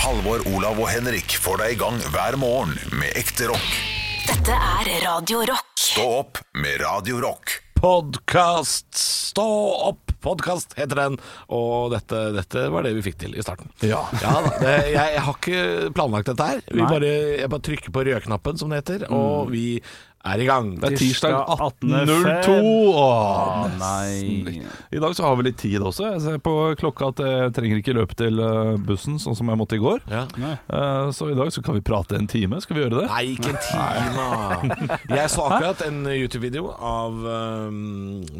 Halvor, Olav og Henrik får deg i gang hver morgen med ekte rock. Dette er Radio Rock. Stå opp med Radio Rock. Podkast! Stå opp! Podkast heter den. Og dette, dette var det vi fikk til i starten. Ja. da, det, jeg, jeg har ikke planlagt dette her. Vi Nei. Mm. bare, jeg bare trykker på rødknappen, som det heter, og vi er i gang. Det er tirsdag 18.02. 18.05. Åh, nei. I dag så har vi litt tid også. Jeg ser på klokka at jeg trenger ikke løpe til eh, bussen, sånn som jeg måtte i går. Ja. Eh, Så i dag så kan vi prate en time. Skal vi gjøre det? Nei, ikke en time. Jeg så akkurat en YouTube-video av um,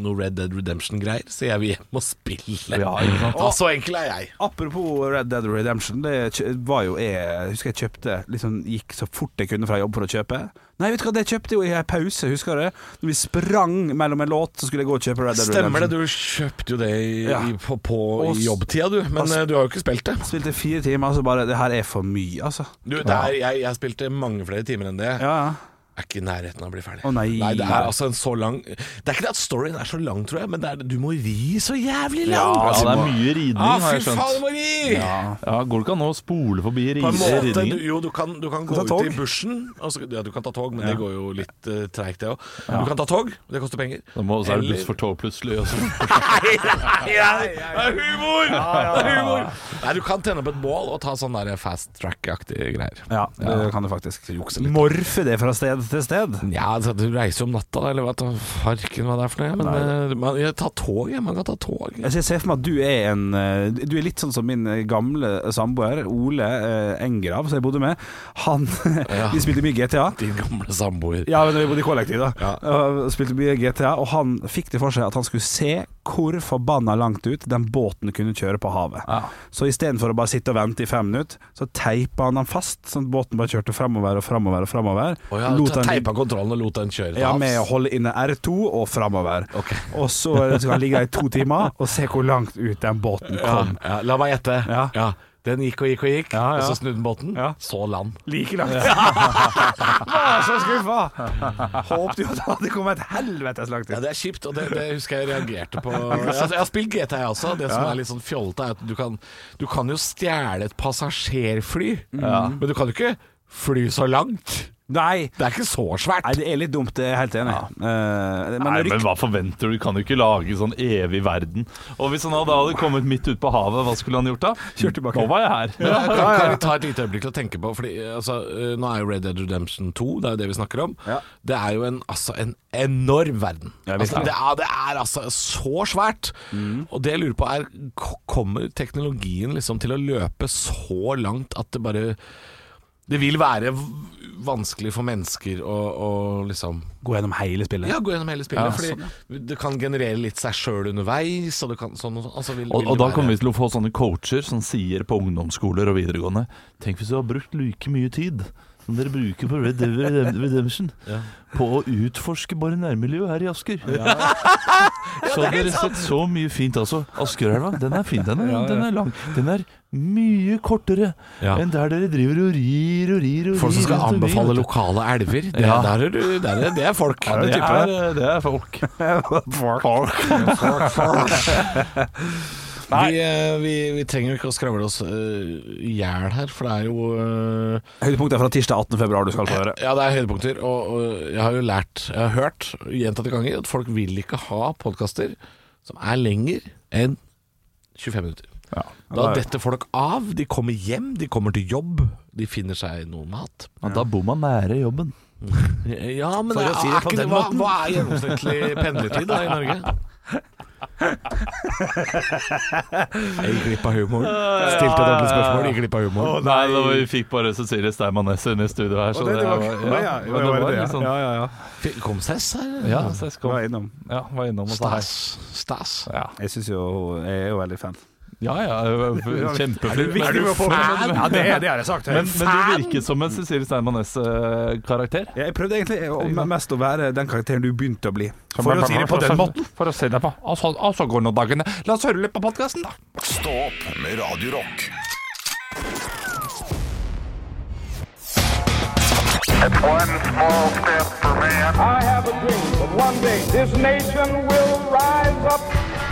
noe Red Dead Redemption-greier, så jeg vil hjem og spille. Ja, ikke sant? og så enkel er jeg. Apropos Red Dead Redemption, det kjø- var jo jeg jeg Husker jeg kjøpte liksom, Gikk så fort jeg kunne fra jobb for å kjøpe. Nei, vet du hva, det kjøpte jo i en pause, husker du? Når vi sprang mellom en låt, så skulle jeg gå og kjøpe Red Dead Stemmer det, Redemption. du kjøpte jo det i, Ja. i, på, på, Og i s- jobbtida, du. Men eh, du har jo ikke spilt det. Spilte fire timer, så bare Det her er for mye, altså. Du, det er, jeg, jeg spilte mange flere timer enn det. Ja, ja. Jeg er ikke i nærheten av å bli ferdig. Å, nei. det er altså en så lang Det er ikke det at storyen er så lang, tror jeg, men det er, du må ri så jævlig Ja, langt! det er mye ridning, ah, har fy jeg faen, du skjønt. må ri! Ja, Går det ikke an å spole forbi ri- På en måte, du, ridningen? jo, du kan, du kan Kan gå ta ut tog. i bushen og så, Ja, du kan ta tog, men det går jo litt uh, treigt, det òg. Du kan ta tog, det koster penger. Da må, så er det Eller- buss for tog plutselig. Og så. Nei, nei, nei, det er humor! Det er humor! Nei, du kan tenne på et bål og ta sånn der fast track-aktige greier. Ja, det kan du faktisk. Jukse litt. Morfe det fra sted til sted. Ja, altså, du reiser om natta, eller hva da farken hva det er for noe. Men eh, man, jeg tar tog, jeg. Man kan ta tog. Altså, jeg ser for meg at du er en eh, Du er litt sånn som min eh, gamle samboer, Ole eh, Engrav, som jeg bodde med. Han Vi spilte mye GTA. Din gamle samboer. Ja, men vi bodde i kollektiv, da. Ja. Og Spilte mye GTA, og han fikk det for seg at han skulle se hvor forbanna langt ut den båten kunne kjøre på havet. Ja. Så istedenfor å bare sitte og vente i fem minutter, så teipa han den fast, sånn at båten bare kjørte framover og framover og framover. Å ja, Lot ta- han- teipa kontrollen og lot den kjøre til ja, med å havs. holde inne R2 og framover. Ok. Og så skal han ligge her i to timer og se hvor langt ut den båten kom. Ja, la meg gjette. Ja. Den gikk og gikk og gikk, Ja, ja. og så snudde den båten. Ja. Så land. Like langt. Var så skuffa! Håpte jo at han hadde kommet helvetes langt Ja, ut. Det er kjipt, og det, det husker jeg reagerte på. Altså, jeg har spilt GTA jeg også. Det som er litt sånn fjollete, er at du kan, du kan jo stjele et passasjerfly, men du kan jo ikke fly så langt. Nei, Det er ikke så svært. Nei, det er litt dumt, det er jeg helt enig. i. Eh, men, Nei, rykt- men hva forventer du? Du kan jo ikke lage sånn evig verden. Og hvis han hadde hadde kommet midt ut på havet, hva skulle han gjort da? Kjørt tilbake. Nå var jeg her. Men Kan, kan vi ta et lite øyeblikk til å tenke på Fordi eh, altså, eh, Nå er jo Red Dead Redemption 2 Det er jo det vi snakker om Ja. Det er jo en, altså, en enorm verden Ja, altså, virkelig. det, er, det er altså så svært Mm. Og det jeg lurer på er ko- Kommer teknologien liksom til å løpe så langt At det bare Det vil være v- vanskelig for mennesker Å, å liksom gå gjennom hele spillet. sånn, ja, gå gjennom hele spillet Ja, Fordi det kan generere litt seg selv underveis Og, det kan, sånn, og sånn. altså, vil, Og, vil og det da være- kommer vi til å få sånne coacher som sier på ungdomsskoler og videregående Tenk hvis du har brukt like mye tid som dere bruker på Red Dead Redem- Redemption på å utforske bare nærmiljøet her i Asker. så har dere sett så mye fint. Altså, Askerelva, den er fin. Den er, den er lang. Den er mye kortere Ja. enn der dere driver og rir og rir og rir. Folk som skal rundt omkring, anbefale vet du. lokale elver Det, Ja. der er, du- der er, det er folk Ja, det, er, det er folk. Vi, eh, vi, vi trenger jo ikke å skravle oss eh, i hjel her, for det er jo eh, Høydepunktet er fra tirsdag 18. februar du skal få høre. Ja, det er høydepunkter. Og, og jeg har jo lært, jeg har hørt gjentatte ganger, at folk vil ikke ha podkaster som er lenger enn 25 minutter. Da det er- detter folk av. De kommer hjem, de kommer til jobb, de finner seg noe mat. Ja, da bor man nære jobben. Ja, men For å er- si det er på ikke den hva, måten. hva er gjennomsnittlig pendlertid da i Norge? Jeg gikk glipp av humor. Stilte et ordentlig spørsmål, gikk glipp av humor. Nei, da vi fikk bare Cecilie Steinmann Næss inn i studio her. Så det- det var- ja, ja, men ja, var det det, ja. litt sånn- Ja, ja, ja. Fikk- Kom Sess her? Ja, så jeg Var kom, innom. ja, var innom og sa hei. Stas. Stas. Ja, Jeg syns jo Jeg er jo veldig fan. ja, ja Er du- kjempeflink. er du fan? Men, men, det har jeg sagt. men du virket som en Cecilie eh, Steinmann Næss-karakter. jeg prøvde egentlig å- mest å være den karakteren du begynte å bli. For å si det på den måten. For å si det på. Og så, og så går nå dagene. La oss høre litt på podkasten, da. Stå opp med Radio Rock. One small step for man. I have a dream that one day this nation will rise up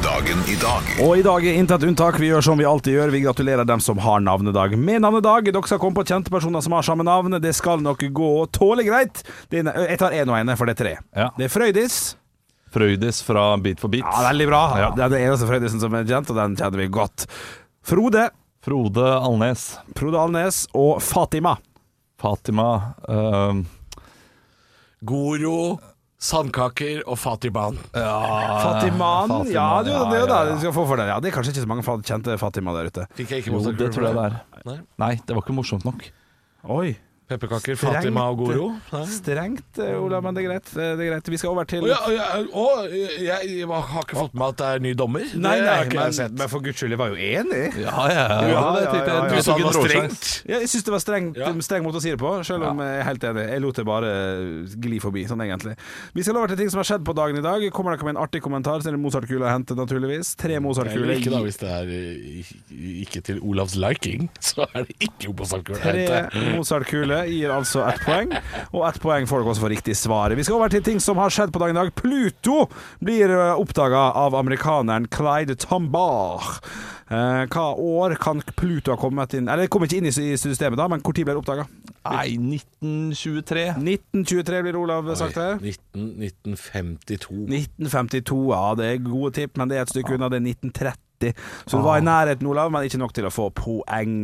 Dagen i dag. Og i dag er intet unntak. Vi gjør som vi alltid gjør. Vi gratulerer dem som har navnedag med navnedag. Dere skal komme på kjente personer som har samme navn. Det skal nok gå tålelig greit. Det er, jeg tar én og én, for det er tre. Ja. Det er Frøydis. Frøydis fra Beat for beat. Ja, Veldig bra. Ja. Det er den eneste Frøydisen som er kjent, og den kjenner vi godt. Frode, Frode Alnes. Frode Alnes og Fatima. Fatima ehm, Goro, sandkaker og Fatiban. Fatiman, Fatima, ja, du, det er jo ja, det ja. du skal få for det. Ja, det er kanskje ikke så mange fa- kjente Fatima der ute. Fikk jeg ikke Jo, mottaker det for tror jeg det er. Nei. Nei, det var ikke morsomt nok. Oi. Pepperkaker, Strengt. Fatima og Goro. Nei. Strengt, eh, Ola, men det er greit. Eh, Det er greit. Vi skal over til Å, ja, å, ja, å, jeg, jeg har ikke fått med meg at det er ny dommer. Nei, det har nei, ikke jeg men, sett. men for guds skyld, jeg var jo enig. Ja, ja, ja. Ja, ja, ja, ja. Du sa det var strengt. Ja, jeg syns det var streng, Ja. streng måte å si det på, selv om jeg er helt enig. Jeg lot det bare gli forbi, sånn egentlig. Vi skal over til ting som har skjedd på dagen i dag. Kommer dere med en artig kommentar, så er det Mozart-kule å hente, naturligvis. Tre Eller Mozart-kuler. ikke, da, hvis det er eh, i- ikke til Olavs liking, så er det ikke Mozart-kule. Tre Mozart-kuler gir altså ett poeng, og ett poeng får dere også for riktig svar. Vi skal over til ting som har skjedd på dagen i dag. Pluto blir oppdaga av amerikaneren Clyde Tombaugh. Eh, hva år kan Pluto ha kommet inn Eller kom ikke inn i sy- i systemet, da, men når ble det oppdaga? Nei, 1923. 1923 blir det Olav sagt her. 19, 1952. 1952, ja det er gode tipp, men det er et stykke unna, det er 1930. Så du var i nærheten, Olav, men ikke nok til å få poeng.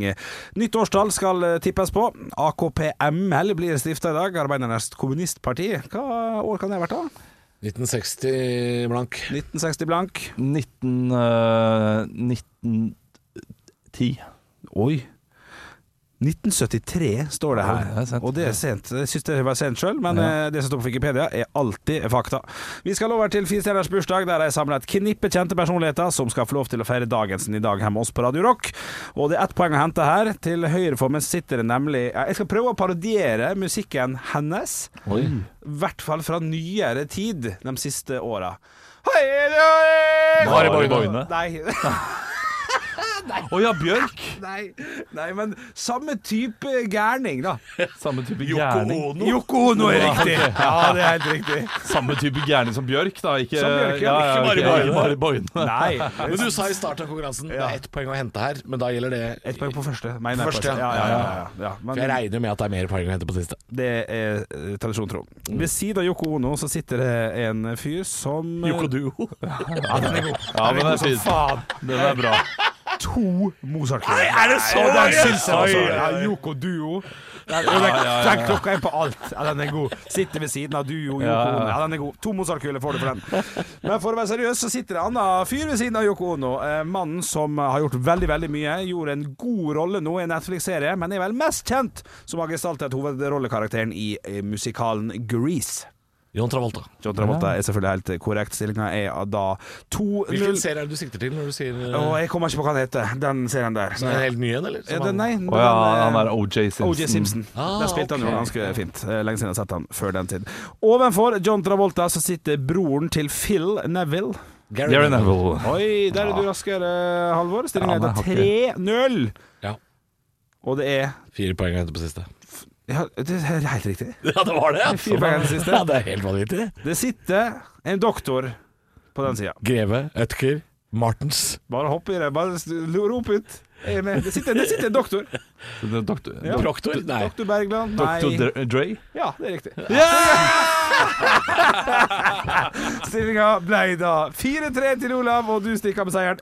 Nytt årstall skal eh, tippes på. AKP-ML blir stifta i dag, Arbeidernes kommunistparti. Hva år kan det ha vært, da? 1960 blank. 1960 blank. 19, eh, 1910. Oi. 1973 står det Oi, her, det er sent. og det er sent. Jeg syns det var sent sjøl, men eh, det som står på Wikipedia er alltid fakta. Vi skal over til firestjerners bursdag, der jeg samler et knippe kjente personligheter som skal få lov til å feire dagensen i dag hjemme hos oss på Radio Rock. Og det er ett poeng å hente her. Til høyre for meg sitter det nemlig Jeg skal prøve å parodiere musikken hennes Oi. i hvert fall fra nyere tid de siste åra. Mari Boine. Nei. Å ja, Bjørk! Nei, nei, men samme type gærning, da. Samme type gærning. Yoko Ono er riktig. Ja, det er helt riktig. Samme type gærning som Bjørk, da. Ikke, Som Bjørk, ja. ja, Ikke ok, Mari Boine. ikke Mari Boine. Nei. Men du sa i starten av konkurransen det er ett poeng å hente her, men da gjelder det Ett poeng på første. Mener jeg På første, på. ja. Ja, ja, ja, ja. For jeg Men regner med at det er mer poeng å hente på siste. det er eh, tradisjon tro. Ved siden av Yoko Ono så sitter det en fyr som eh, Duo. Ja, den er god. Ja, Den er god men det er som fint. faen. Den er bra. To Mozart-kuler. er det så Ja, den mange? syns jeg altså. Oi, Ja, Yoko Duo. Den, den, den klokka er på alt. Ja, den er god. Sitter ved siden av Duo, Yoko ja, ja. Ono. Ja, den er god. To Mozart-kuler får du for den. Men for å være seriøs, så sitter det en annen fyr ved siden av Yoko Ono. Eh, mannen som har gjort veldig, veldig mye. Gjorde en god rolle nå i en Netflix-serie, men er vel mest kjent som har gestaltet hovedrollekarakteren i eh, musikalen Grease. John Travolta. John Travolta er selvfølgelig helt korrekt. Stillinga er da 2-0. Hvilken serie er det du sikter til når du sier eh, Å, jeg kommer ikke på hva den heter, den serien der. så er det en helt ny en, eller? Er det, nei, Å ja, den, eh, han er OJ Simpson. O.J. Simpson. Ah, Der spilte han ok. jo ganske fint. Eh, Lenge siden jeg har sett han før den tid. Ovenfor John Travolta så sitter broren til Phil Neville. Gary Neville. Oi, der er du raskere, Halvor. Stillinga Ja, men heter jeg 3-0. Ja. Og det er Fire poeng å hente på siste. ja, Det er helt riktig. Ja, det var det! ja. Fire poeng til siste. Ja, det er helt vanvittig. Det sitter en doktor på den sida. Greve, Ødker, Martens. Bare hopp i det. Bare s- rop ut. Jeg er med. Det sitter, det sitter en doktor. Det er Doktor, Ja. Proktor? Nei. Doktor Bergland. Doktor Nei. Dre- Dre. Ja, det er riktig. Stillinga ble da 4-3 til Olav, og du stikker av med seieren.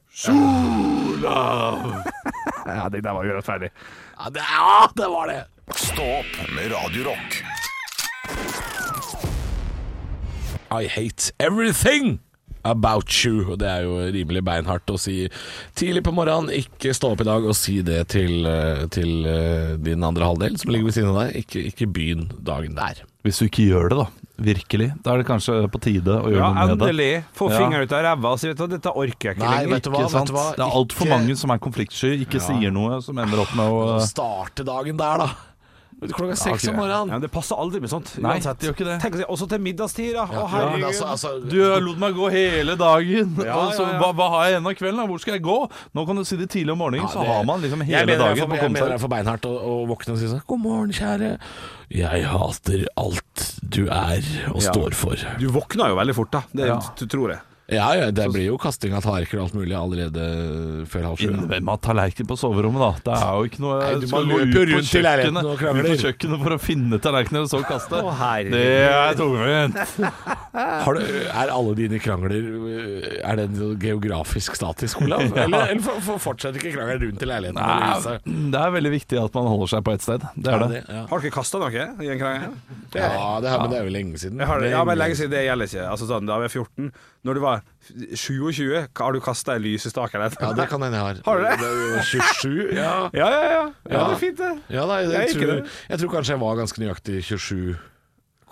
Olav! ja, det der var urettferdig. Ja, det, ja, det var det! Stå opp med Radio Rock. I hate everything about you. Og det er jo rimelig beinhardt å si tidlig på morgenen. Ikke stå opp i dag og si det til, eh, til eh, din andre halvdel som ligger ved siden av deg. Ikke, ikke begynn dagen der. Hvis du ikke gjør det, da. Virkelig. Da er det kanskje på tide å gjøre Ja, noe med det. endelig. Få Ja. fingeren ut av ræva og si vet du, hva, dette orker jeg ikke Nei, lenger. vet du hva? Ikke sant? Vet du hva? Det er altfor Ikke- mange som er konfliktsky, ikke sier noe, som ender opp med å eh, Starte dagen der, da. Klokka seks om Ja, morgenen. men det passer aldri med sånt. Nei, uansett. det gjør ikke det. Tenk å si, også til middagstid, da. Å, Ja, men herregud. altså, altså, Du lot meg gå hele dagen, Ja, og så, ja, ja. Hva, hva har jeg igjen av kvelden? da? Hvor skal jeg gå? Nå kan du si det tidlig om morgenen, Ja, så det- har man liksom Jeg hele mener det er dagen for- Jeg på å komme mener det er seg for beinhardt å, å våkne og si sånn God morgen, kjære. Jeg hater alt du er og står for. Du våkna jo veldig fort, da. Det Ja. t- tror jeg. Ja, ja, det blir jo kasting av tallerkener og alt mulig allerede før halv sju. ja. Hvem har tallerken på soverommet, da? Det er jo ikke noe Nei, du skal bare gå løper ut på rundt i leiligheten kjøkkenet- og krangler. Ut på kjøkkenet for å finne tallerkener og så kaste. Å, herregud. det er tungvint. Har du, er alle dine krangler øh, Er det en geografisk statisk, Olav? Eller, eller for, for fortsetter ikke krangelen rundt i leiligheten? eller Nei, huset? Det er veldig viktig at man holder seg på ett sted. Det er det. altså. Ja, Har dere kasta noe i en krangel? det, ja. ja det, her, men det er jo lenge siden. Jeg har, Det- ja, men lenge siden det gjelder ikke. Altså sånn, Da var jeg 14. Når du var 27, har du kasta ei lysestake eller Ja, det kan hende jeg har. Har du det? var 27? Ja, Ja, ja, ja. ja, Ja. det er fint, det. ja da, jeg, Jeg jeg, gikk i tror, det. jeg tror kanskje jeg var ganske nøyaktig 27.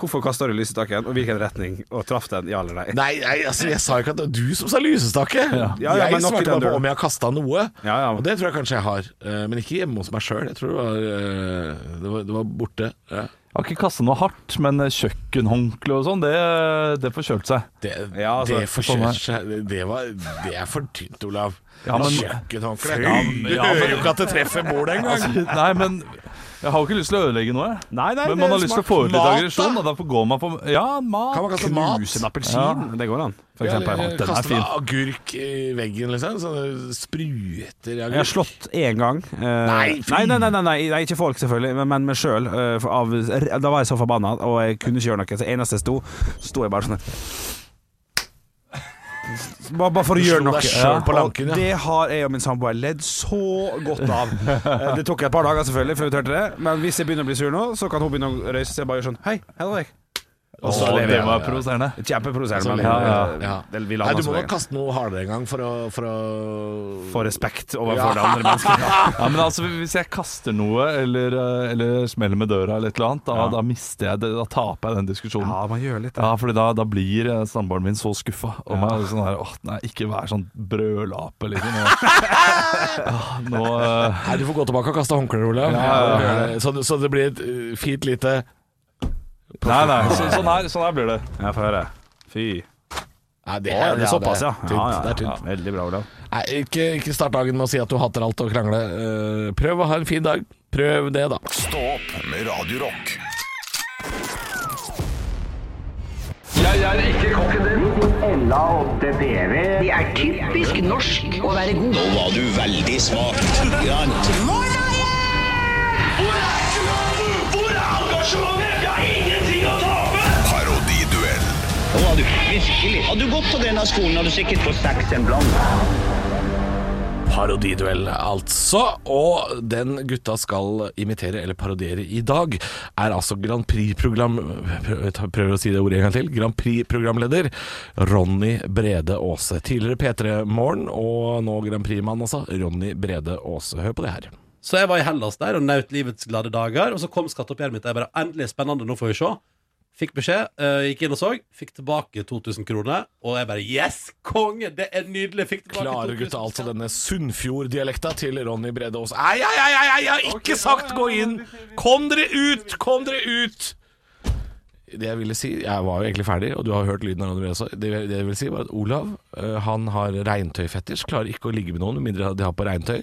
Hvorfor kasta du lysestaken, og hvilken retning? Og traff den, ja eller nei? Nei, nei altså, jeg sa jo ikke at det var du som sa lysestake. Ja, ja, jeg men nok i svarte den bare på døren. om jeg har kasta noe. Ja, ja. Og det tror jeg kanskje jeg har. Eh, Men ikke hjemme hos meg sjøl. Jeg tror det var, eh, det var, det var borte. Ja. Jeg har ikke kastet noe hardt, men eh, kjøkkenhåndkle og sånn, det, det får kjølt seg. Det, Ja, altså, det sånn forkjører seg det, det, var, det er for tynt, Olav. Ja, men- Kjøkkenhåndkle. Altså, Ja, men- du ja, men- hører jo ikke at det treffer bordet engang. Altså, Nei, men jeg har jo ikke lyst til å ødelegge noe, jeg. Nei, nei, Men man har lyst til å få ut litt Mat, da? aggresjon, og derfor går man på Ja, mat. Kan man kaste Knuse en mat? appelsin. Det går an, for eksempel. den er Kaste fin. en agurk i veggen, liksom? Sånne spruter Jeg har agurk. slått én gang. Eh, Nei, fy! nei, nei, nei, nei, nei, nei, ikke folk, selvfølgelig, men- men meg sjøl. da var jeg så forbanna, og jeg kunne ikke gjøre noe. Så eneste jeg sto, sto jeg bare sånn her. Bare, bare for å Du gjøre slo noe. deg selv på og lanken, ja. Det har jeg og min samboer ledd så godt av. Eh, Det tok et par dager, selvfølgelig, før vi turte det. Men hvis jeg begynner å bli sur nå, så kan hun begynne å røyse seg og bare gjøre sånn Hei, Henrik. Og så lever det jeg. var provoserende. Kjempeprovoserende. Så men, lever eh, jeg. Altså, Ja. det- vi Nei, lander du som må nok regel. kaste noe hardere en gang for å, for å Få respekt overfor Ja. det andre mennesket. Ja, men altså, Hvis jeg kaster noe, eller, eh, eller smeller med døra, eller et eller annet, da, da mister jeg det, da taper jeg den diskusjonen. Ja, Ja, man gjør litt det. fordi da, da blir eh, samboeren min så skuffa. Og meg er sånn her, åh, nei, ikke vær sånn brødlape, liksom. Og, ja, nå, eh, Nei, du får gå tilbake og kaste håndklær, Olav. Så, så det blir et eh, fint lite nei, nei, så, sånn, her, sånn her blir det. Ja, få høre. Fy. Nei, det, Ja, det er såpass, det ja. er tynt. Det er tynt. Veldig bra, Olav. Nei, ikke, ikke start dagen med å si at du hater alt og krangle. Eh, prøv å ha en fin dag. Prøv det, da. Stå opp med Radio Rock. Parodiduell. Nå har du virkelig Hadde du gått på denne skolen, hadde du sikkert fått seks en blant. Parodiduell, altså. Og den gutta skal imitere eller parodiere i dag, er altså Grand Prix-program... prøv- Prøver å si det ordet en gang til. Grand Prix-programleder Ronny Brede Aase. Tidligere P3-morgen, og nå Grand Prix-mann, altså. Ronny Brede Aase. Hør på det her. Så jeg var i Hellas der og nøt livets glade dager. Og så kom skatteoppgjøret mitt. og Jeg bare Endelig spennende, nå får vi se. Fikk beskjed, eh, gikk inn og så. Fikk tilbake 2000 kroner. Og jeg bare Yes, konge! Det er nydelig! Fikk tilbake Klarer 2000 gutta altså denne Sunnfjord-dialekta til Ronny Brede Aase? Nei, nei, nei, nei, jeg har ikke sagt gå inn! Kom dere ut! Kom dere ut! Det jeg ville si, jeg var jo egentlig ferdig, og du har hørt lyden av Ronny Brede Aase. Det, det jeg ville si, var at Olav eh, han har regntøyfetisj. Klarer ikke å ligge med noen med mindre de har på regntøy.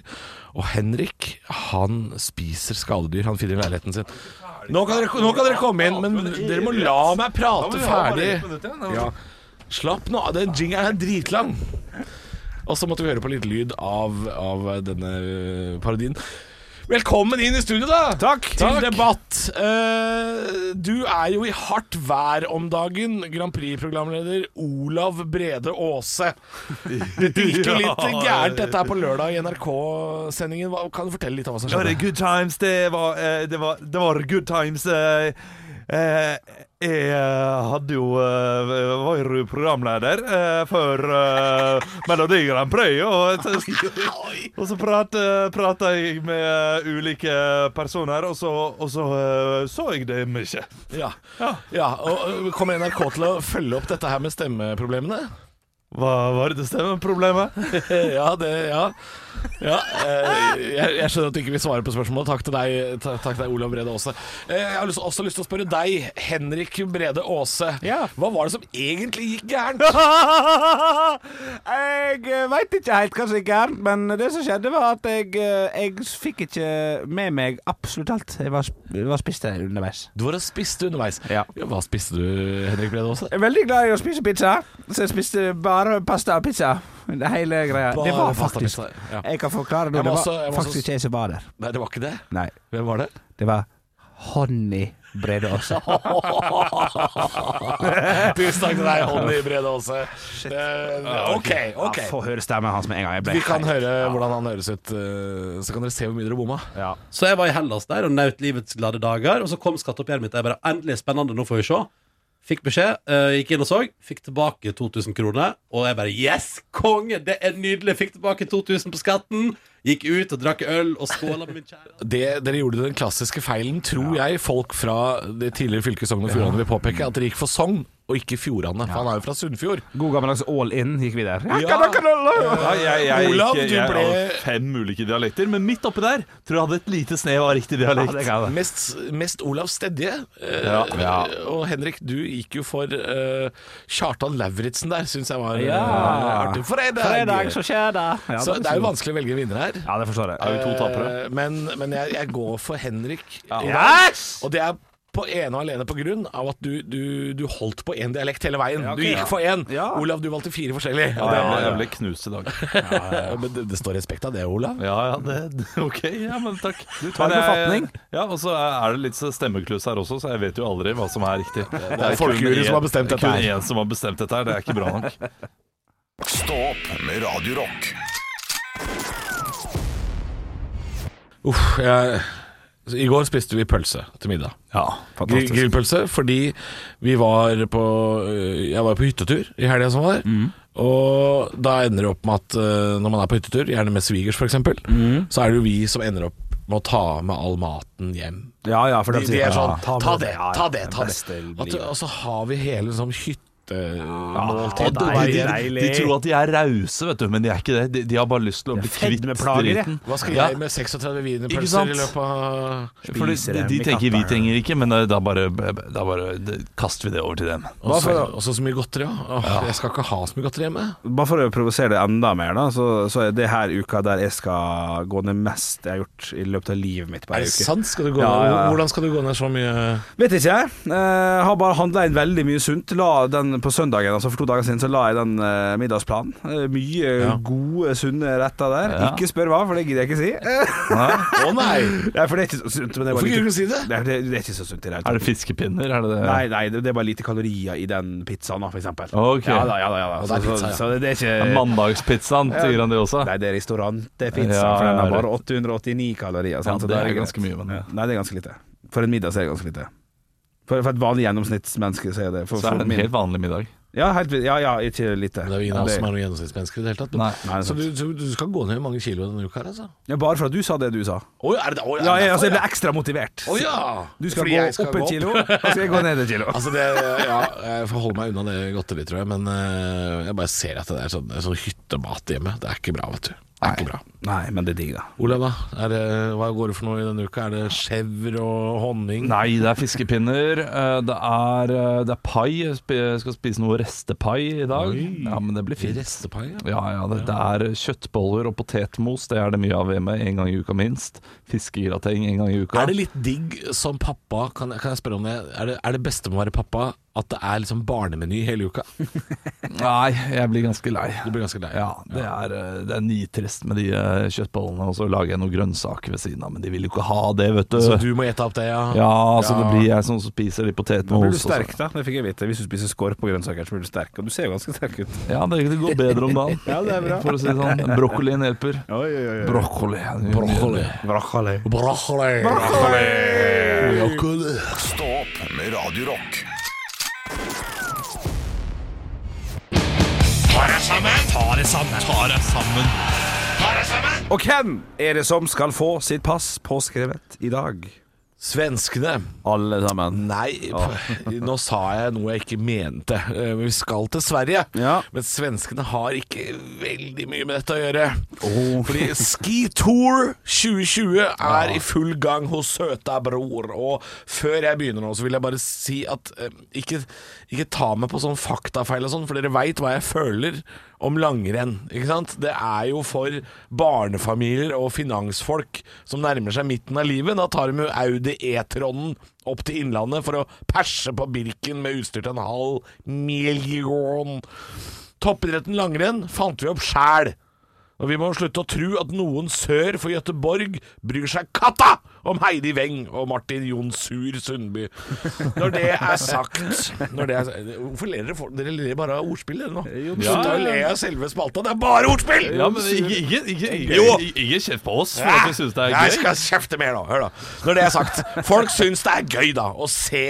Og Henrik, han spiser skadedyr. Han finner leiligheten sin. Nå kan dere, nå kan dere komme inn, men dere må la meg prate ferdig. Ja. Slapp nå av, den jingeren er dritlang. Og så måtte vi høre på litt lyd av, av denne øh, parodien. Velkommen inn i studio, da! Takk. Til Takk. debatt. Eh, du er jo i hardt vær om dagen, Grand Prix-programleder Olav Brede Aase. Dette gikk jo litt gærent, dette her på lørdag i NRK-sendingen. Hva- Kan du fortelle litt om hva som Ja, det skjedde? er good times. Det var, eh, det var, det var good times. eh, eh, Jeg hadde jo eh, var jo programleder eh, for eh, Melodi Grand Prix. Og, og så prat, eh, prata jeg med eh, ulike personer, og så, og så eh, så jeg det mye. Ja. ja. Og øh, kommer NRK til å følge opp dette her med stemmeproblemene? Hva var det stemmeproblemet? Ja, det Ja. ja eh, jeg, jeg skjønner at du ikke vil svare på spørsmålet. Takk til deg, ta- takk til deg Olav Brede Aase. Eh, jeg har lyst, også lyst til å spørre deg, Henrik Brede Aase. Ja. Hva var det som egentlig gikk gærent? jeg veit ikke helt hva som gikk gærent, men det som skjedde, var at jeg, eh, jeg fikk ikke med meg absolutt alt. Jeg var, jeg var spist underveis. Du var og spiste underveis. Ja. Hva spiste du, Henrik Brede Aase? Jeg er veldig glad i å spise pizza, så jeg spiste ba bare pasta og pizza. Det hele greia. Bare det pasta var og faktisk pizza, ja. Jeg kan forklare Jeg det. må Det var også- jeg må faktisk også- ikke jeg som var der. Nei, det var ikke det. Nei. Hvem var det? Det var Honny Brede Aase. Tusen takk til deg, Honny Brede Aase. Eh, Ok, ok. Få høre stemmen hans med en gang. Jeg ble Vi kan høre hvordan han høres ut, eh, så kan dere se hvor mye dere bomma. Ja. Så jeg var i Hellas der og nøt livets glade dager. Og så kom skatteoppgjøret mitt. og Jeg bare endelig spennende, nå får vi se. Fikk beskjed, eh, gikk inn og så. Fikk tilbake 2000 kroner. Og jeg bare Yes, konge! Det er nydelig! Fikk tilbake 2000 på skatten. Gikk ut og drakk øl og skåla med min kjære. det, dere gjorde den klassiske feilen, tror jeg folk fra det tidligere fylket Sogn og Fjordane vil påpeke, at dere gikk for Sogn og ikke Fjordane. For han er jo fra Sunnfjord. God gammeldags all in gikk vi der. Ja. Ja, jeg, jeg, Olav, ikke, du jeg ble- har fem ulike dialekter, men midt oppi der tror jeg hadde et lite snev av riktig dialekt. det kan jeg. Mest, mest Olav Stedje. eh, Ja, ja. Og Henrik, du gikk jo for eh, Kjartan Lauritzen der, syns jeg var eh, Ja. artig. Fredag! Fredag, så skjer det. Ja, så det er jo vanskelig å velge vinner her. Ja, det forstår jeg. Er vi to tapere? Eh, Men, men jeg, jeg går for Henrik. Yes! Og det er på ene og alene på grunn av at du, du, du holdt på én dialekt hele veien. Du gikk for én. Ja. Olav, du valgte fire forskjellige. Ja, jeg ble knust i dag. Men det, det står respekt av det, Olav. Ja, ja, det, det- ok, ja, men takk. Du tar jeg, befatning. Ja, og så er det litt så stemmekluss her også, så jeg vet jo aldri hva som er riktig. Det er folkejury kun som har én- bestemt dette Kun her. én som har bestemt dette her, det er ikke bra nok. Stå opp med Radio Rock. Uff, jeg, så I går spiste vi pølse til middag. Ja, Gri- fantastisk. Grillpølse, fordi vi var på øh, Jeg var på hyttetur i helga som var. Og da ender det opp med at øh, når man er på hyttetur, gjerne med svigers f.eks., eksempel så er det jo vi som ender opp med å ta med all maten hjem. Ja, ja, for De, de de sier- er sånn Ja. Ta, det, Ja, ja, ta det, ta det. beste livet. At, og så har vi hele sånn Ja, hyttemåltid. det er der igjen. deilig. De tror at de er rause, vet du, men de er ikke det. De, de har bare lyst til å bli kvitt fedmeplager, jeg. driten. Hva skal Ja. jeg med 36 Ikke wienerpølser sant? i løpet av For de, Spiser de, dem i tenker vi katta. trenger ikke, men eh, da bare, da bare det, kaster vi det over til dem. Og så også så mye godteri, ja. Åh, Jeg skal ikke ha så mye godteri hjemme. Bare for å provosere det enda mer, da, så, så er det her uka der jeg skal gå ned mest jeg har gjort i løpet av livet mitt på Er ei det uke. sant? Skal du gå Ja, ned? ja, ja. Hvordan skal du gå ned så mye Vet ikke jeg. Eh, har bare handla inn veldig mye sunt. La den På søndagen altså for to dager siden Så la jeg den eh, middagsplanen. Eh, mye gode, sunne retter der. Ja. Ikke spør hva, for det gidder jeg ikke si. Eh, Å nei! Nei, for det er ikke så sunt. Men det, var Hvorfor lite- kunne du si det? Nei, det? Det er ikke så sunt i det hele Er tatt. det fiskepinner? Er det det? Nei, nei, det det er bare lite kalorier i den pizzaen, da, for eksempel. Ok. Ja da, ja da. Ja, da. det er Så, pizza, ja. så, så det er ikke Er det Mandagspizzaen til Grandi også? Nei, det er restaurant, det er pizza, Ja, for den ja, har bare 889 kalorier. Ja, Sant? Så det da er greit. ganske mye, men Nei, det er ganske lite. For en middag så er det ganske lite. For, for et vanlig gjennomsnittsmenneske så er det for, så er for det en helt vanlig middag. Ja, helt, ja, ja, ikke lite. Det er jo ingen Ja, av oss det- som er noen gjennomsnittsmennesker i det hele tatt. Nei. Men, Nei, det er så sant. du, du, du skal gå ned mange kilo denne uka her, altså? ja, bare for at du sa det du sa. Å ja, er det Ja, jeg, altså, jeg ble ekstra motivert. Å ja! Du skal Fordi gå jeg skal opp et kilo, og så skal jeg gå ned et kilo. Altså det, ja, Jeg får holde meg unna det godteriet, tror jeg. Men eh, jeg bare ser at det er sånn, sånn hyttemat hjemme. Det er ikke bra, vet du. Det er ikke bra. Nei, men det er digg, da. Olav, da? Er det, hva går det for noe i denne uka? Er det skjevr og honning? Nei, det er fiskepinner. eh, Det er, eh, det er pai. Jeg spi- jeg skal spise noe restepai i dag. Ja, men det blir fint. Restepai? Ja. Ja, ja, det, det er kjøttboller og potetmos. Det er det mye av hjemme. En gang i uka minst. Fiskegrateng en gang i uka. Er det litt digg som pappa Kan, kan jeg spørre om det? Er det, er det beste med å være pappa at det er liksom barnemeny hele uka? Du Nei, jeg blir ganske lei. blir ganske lei. Ja, det er, eh, det er nitrist med de eh, kjøttbollene. Og så lager jeg noen grønnsaker ved siden av, men de vil jo ikke ha det, vet du. Så du må gjette opp det, ja? Ja, så det blir jeg som spiser litt potetmos. Da blir du og så- sterk, da. Det fikk jeg vite. Hvis du spiser skorp og grønnsaker, så blir du sterk. Og du ser jo ganske sterk ut. Ja, det, det går bedre om dagen. Ja, det er bra. For å si det sånn. Brokkolien hjelper. Oi, oi, oi. Brokkoli. Broccoli. Broccoli. Broccoli. Broccoli. Stå opp med Radio Rock. Og hvem er det som skal få sitt pass påskrevet i dag? Svenskene. Alle sammen. Nei, p- nå sa jeg noe jeg ikke mente. Eh, Men vi skal til Sverige. Ja. Men svenskene har ikke veldig mye med dette å gjøre. Fordi Ski Tour 2020 er i full gang hos søta bror. Og før jeg begynner nå, så vil jeg bare si at eh, ikke, ikke ta meg på sånn faktafeil og sånn, for dere veit hva jeg føler om langrenn. Ikke sant? Det er jo for barnefamilier og finansfolk som nærmer seg midten av livet. Da tar de jo Audi E-tronen opp til Innlandet for å perse på Birken med utstyr til en halv million. Toppidretten langrenn fant vi opp sjæl. Og vi må slutte å tro at noen sør for Gøteborg bryr seg katta om Heidi Weng og Martin Jon Sur Sundby. Når det er sagt når det er, Hvorfor ler dere? for- Dere ler bare av ordspill, dere nå. Slutt å le av selve spalta. Det er bare ordspill! Ja, men ikke, ikke, ikke, ikke, Jo. ikke, ikke kjeft på oss, for at vi syns det er Jeg gøy. skal kjefte mer nå. Hør, da. Når det er sagt. Folk syns det er gøy, da, å se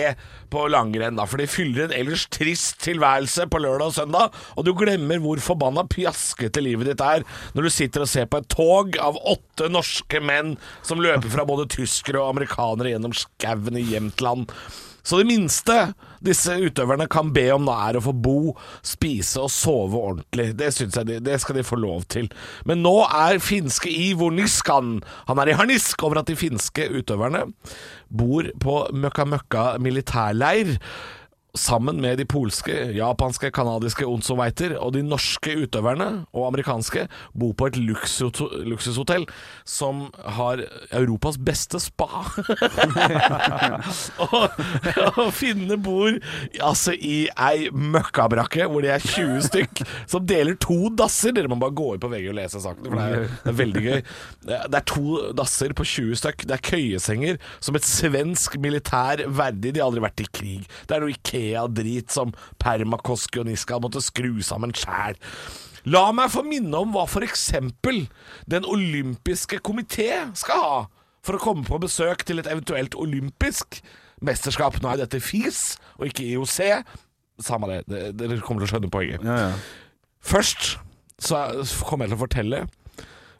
på langrenn, da. For de fyller en ellers trist tilværelse på lørdag og søndag, og du glemmer hvor forbanna pjaskete livet ditt er når du sitter og ser på et tog av åtte norske menn som løper fra både tyskere og amerikanere gjennom skauen i Jämtland. Så det minste disse utøverne kan be om da, er å få bo, spise og sove ordentlig. Det synes jeg de, det skal de få lov til. Men nå er finske Ivo Niskan Han er i harnisk over at de finske utøverne bor på møkka-møkka militærleir. Sammen med de polske, japanske, kanadiske onsoveiter og de norske utøverne og amerikanske bor på et luksusho- luksushotell som har Europas beste spa. og, og finne bor altså, i ei møkkabrakke hvor de er 20 stykk som deler to dasser. Dere må bare gå inn på VG og lese saken, for det er, det er veldig gøy. Det er to dasser på 20 stykk. Det er køyesenger som et svensk militær verdig. De har aldri vært i krig. Det er noe Ikea-drit som Permakoski og Niska måtte skru sammen sjæl. La meg få minne om hva f.eks. Den olympiske komité skal ha for å komme på besøk til et eventuelt olympisk mesterskap. Nå er dette FIS og ikke IOC. Samme det, det- dere kommer til å skjønne poenget. Først så kommer jeg til å fortelle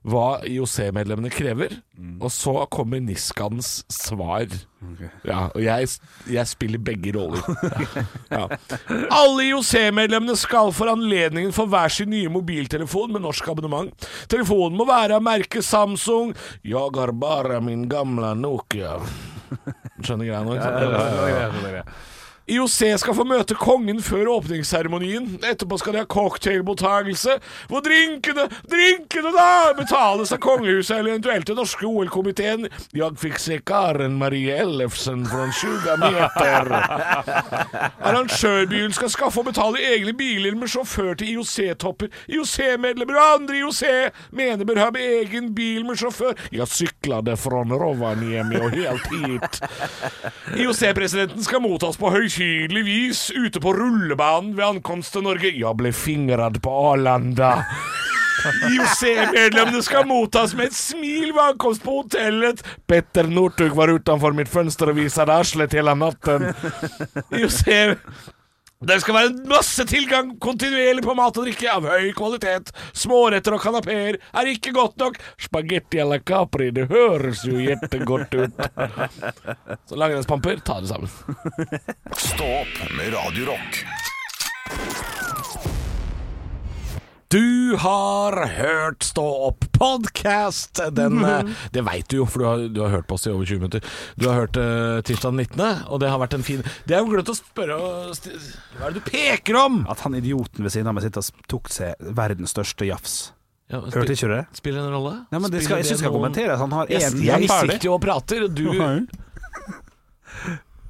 hva IOC-medlemmene krever, og så kommer Niskans svar. Ja, og jeg, jeg spiller begge roller. Ja. Alle IOC-medlemmene skal for anledningen få hver sin nye mobiltelefon med norsk abonnement. Telefonen må være av merket Samsung. Jeg har bare min gamle Nokia. Skjønner greia nå? ikke sant? IOC skal få møte kongen før åpningsseremonien. Etterpå skal de ha cocktailmottakelse, hvor drinkene, drinkene da, betales av kongehuset eller eventuelt den norske OL-komiteen. Jeg fikk se Karen Marie Ellefsen fra 20 meter. Arrangørbyen skal skaffe og betale egne biler med sjåfør til IOC-topper. IOC-medlemmer og andre IOC mener bør ha med egen bil med sjåfør. Jeg sykla det fra Rovaniemi og helt hit. IOC-presidenten skal mottas på høytidelig vis ute på rullebanen ved ankomst til Norge. Jeg ble fingrad på Arlanda. IOC-medlemmene skal mottas med et smil ved ankomst på hotellet. Petter Northug var utenfor mitt fønster og viste arslet hele natten. IOC det skal være masse tilgang kontinuerlig på mat og drikke av høy kvalitet. Småretter og kanapeer er ikke godt nok. Spagetti à la capri, det høres jo jettegodt ut. Så langrennspamper, ta det sammen. Stå opp med Radio Rock. Du har hørt Stå opp podcast Den, eh, Det veit du jo, for du har, du har hørt på oss i over 20 minutter. Du har hørt uh, tirsdag den 19., og det har vært en fin Det er jo grunn til å spørre og sti- Hva er det du peker om? At han idioten ved siden av meg sitter og tok seg verdens største jafs. Ja, spi- Hørte ikke du det? Spiller en rolle? Nei, men det skal, Spiller jeg synes det skal noen- kommenteres. Han har Jeg, én jeg ferdig. sitter jo og prater, og du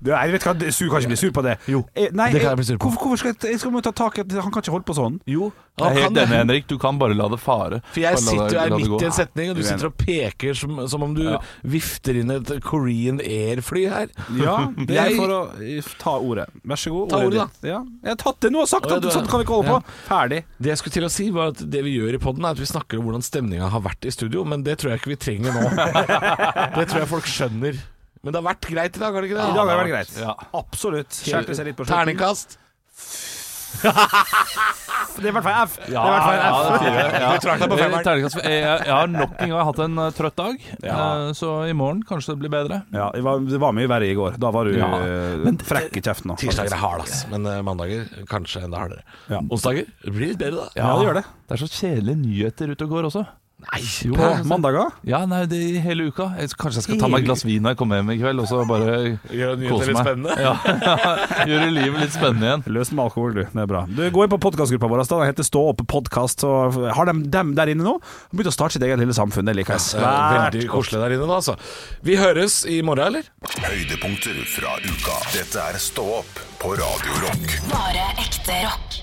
Du, jeg vet hva, du du kan ikke bli sur på det. Jo, Eh, nei, det kan jeg bli sur på. Hvorfor, hvorfor skal jeg, jeg skal må ta tak i det? Han kan ikke holde på sånn. Jo, Jeg er kan helt det. enig, Henrik. Du kan bare la det fare. For jeg Bare la det- sitter jo her la det midt gå. i en setning, og du sitter og peker som, som om du vifter inn et Korean Air-fly her. Ja, det er Jeg- for å eh, ta ordet. Vær så god. Ta ordet, ditt. Ja. Jeg har tatt det nå og sagt Å, ja, at du er- sånn kan vi ikke holde Ja. på. Ferdig. Det jeg skulle til å si, var at det vi gjør i poden, er at vi snakker om hvordan stemninga har vært i studio, men det tror jeg ikke vi trenger nå. det tror jeg folk skjønner. Men det har vært greit i dag, har det ikke det? I dag har det vært greit. Ja. Absolutt. Skjerpe seg litt på slutten. Terningkast. Det er i hvert fall F. Ja, det er i hvert fall ja, F. det sier jeg, ja. Du trakk deg på femmeren. Eh, terningkast- eh, Jeg, jeg har nok en gang hatt en eh, trøtt dag, eh, så i morgen kanskje det blir bedre. Ja, det var, det var mye verre i går. Da var du Ja. eh, frekk i kjeften. nå. Tirsdager er hard, ass. Men eh, mandager kanskje enda hardere. Ja. Onsdager det blir litt bedre, da. Ja, det gjør det. Det er så kjedelige nyheter ute og går også. Nei, På jo. mandager? Ja, sånn nei, det er hele uka. Jeg, kanskje jeg skal ta meg et glass vin når jeg kommer hjem i kveld, og så bare Gjør Kose nyheter litt meg. spennende. ja, gjøre livet litt spennende igjen. Løs den med alkohol, du. Det er bra. Du Gå inn på podkastgruppa vår. da. Den heter Stå opp podkast. så Har de dem der inne nå? Begynt å starte sitt eget lille samfunn. Det liker jeg Det er svært Eh, Veldig godt. koselig der inne nå, altså. Vi høres i morgen, eller? Høydepunkter fra uka. Dette er Stå opp på Radio Rock. Bare ekte rock.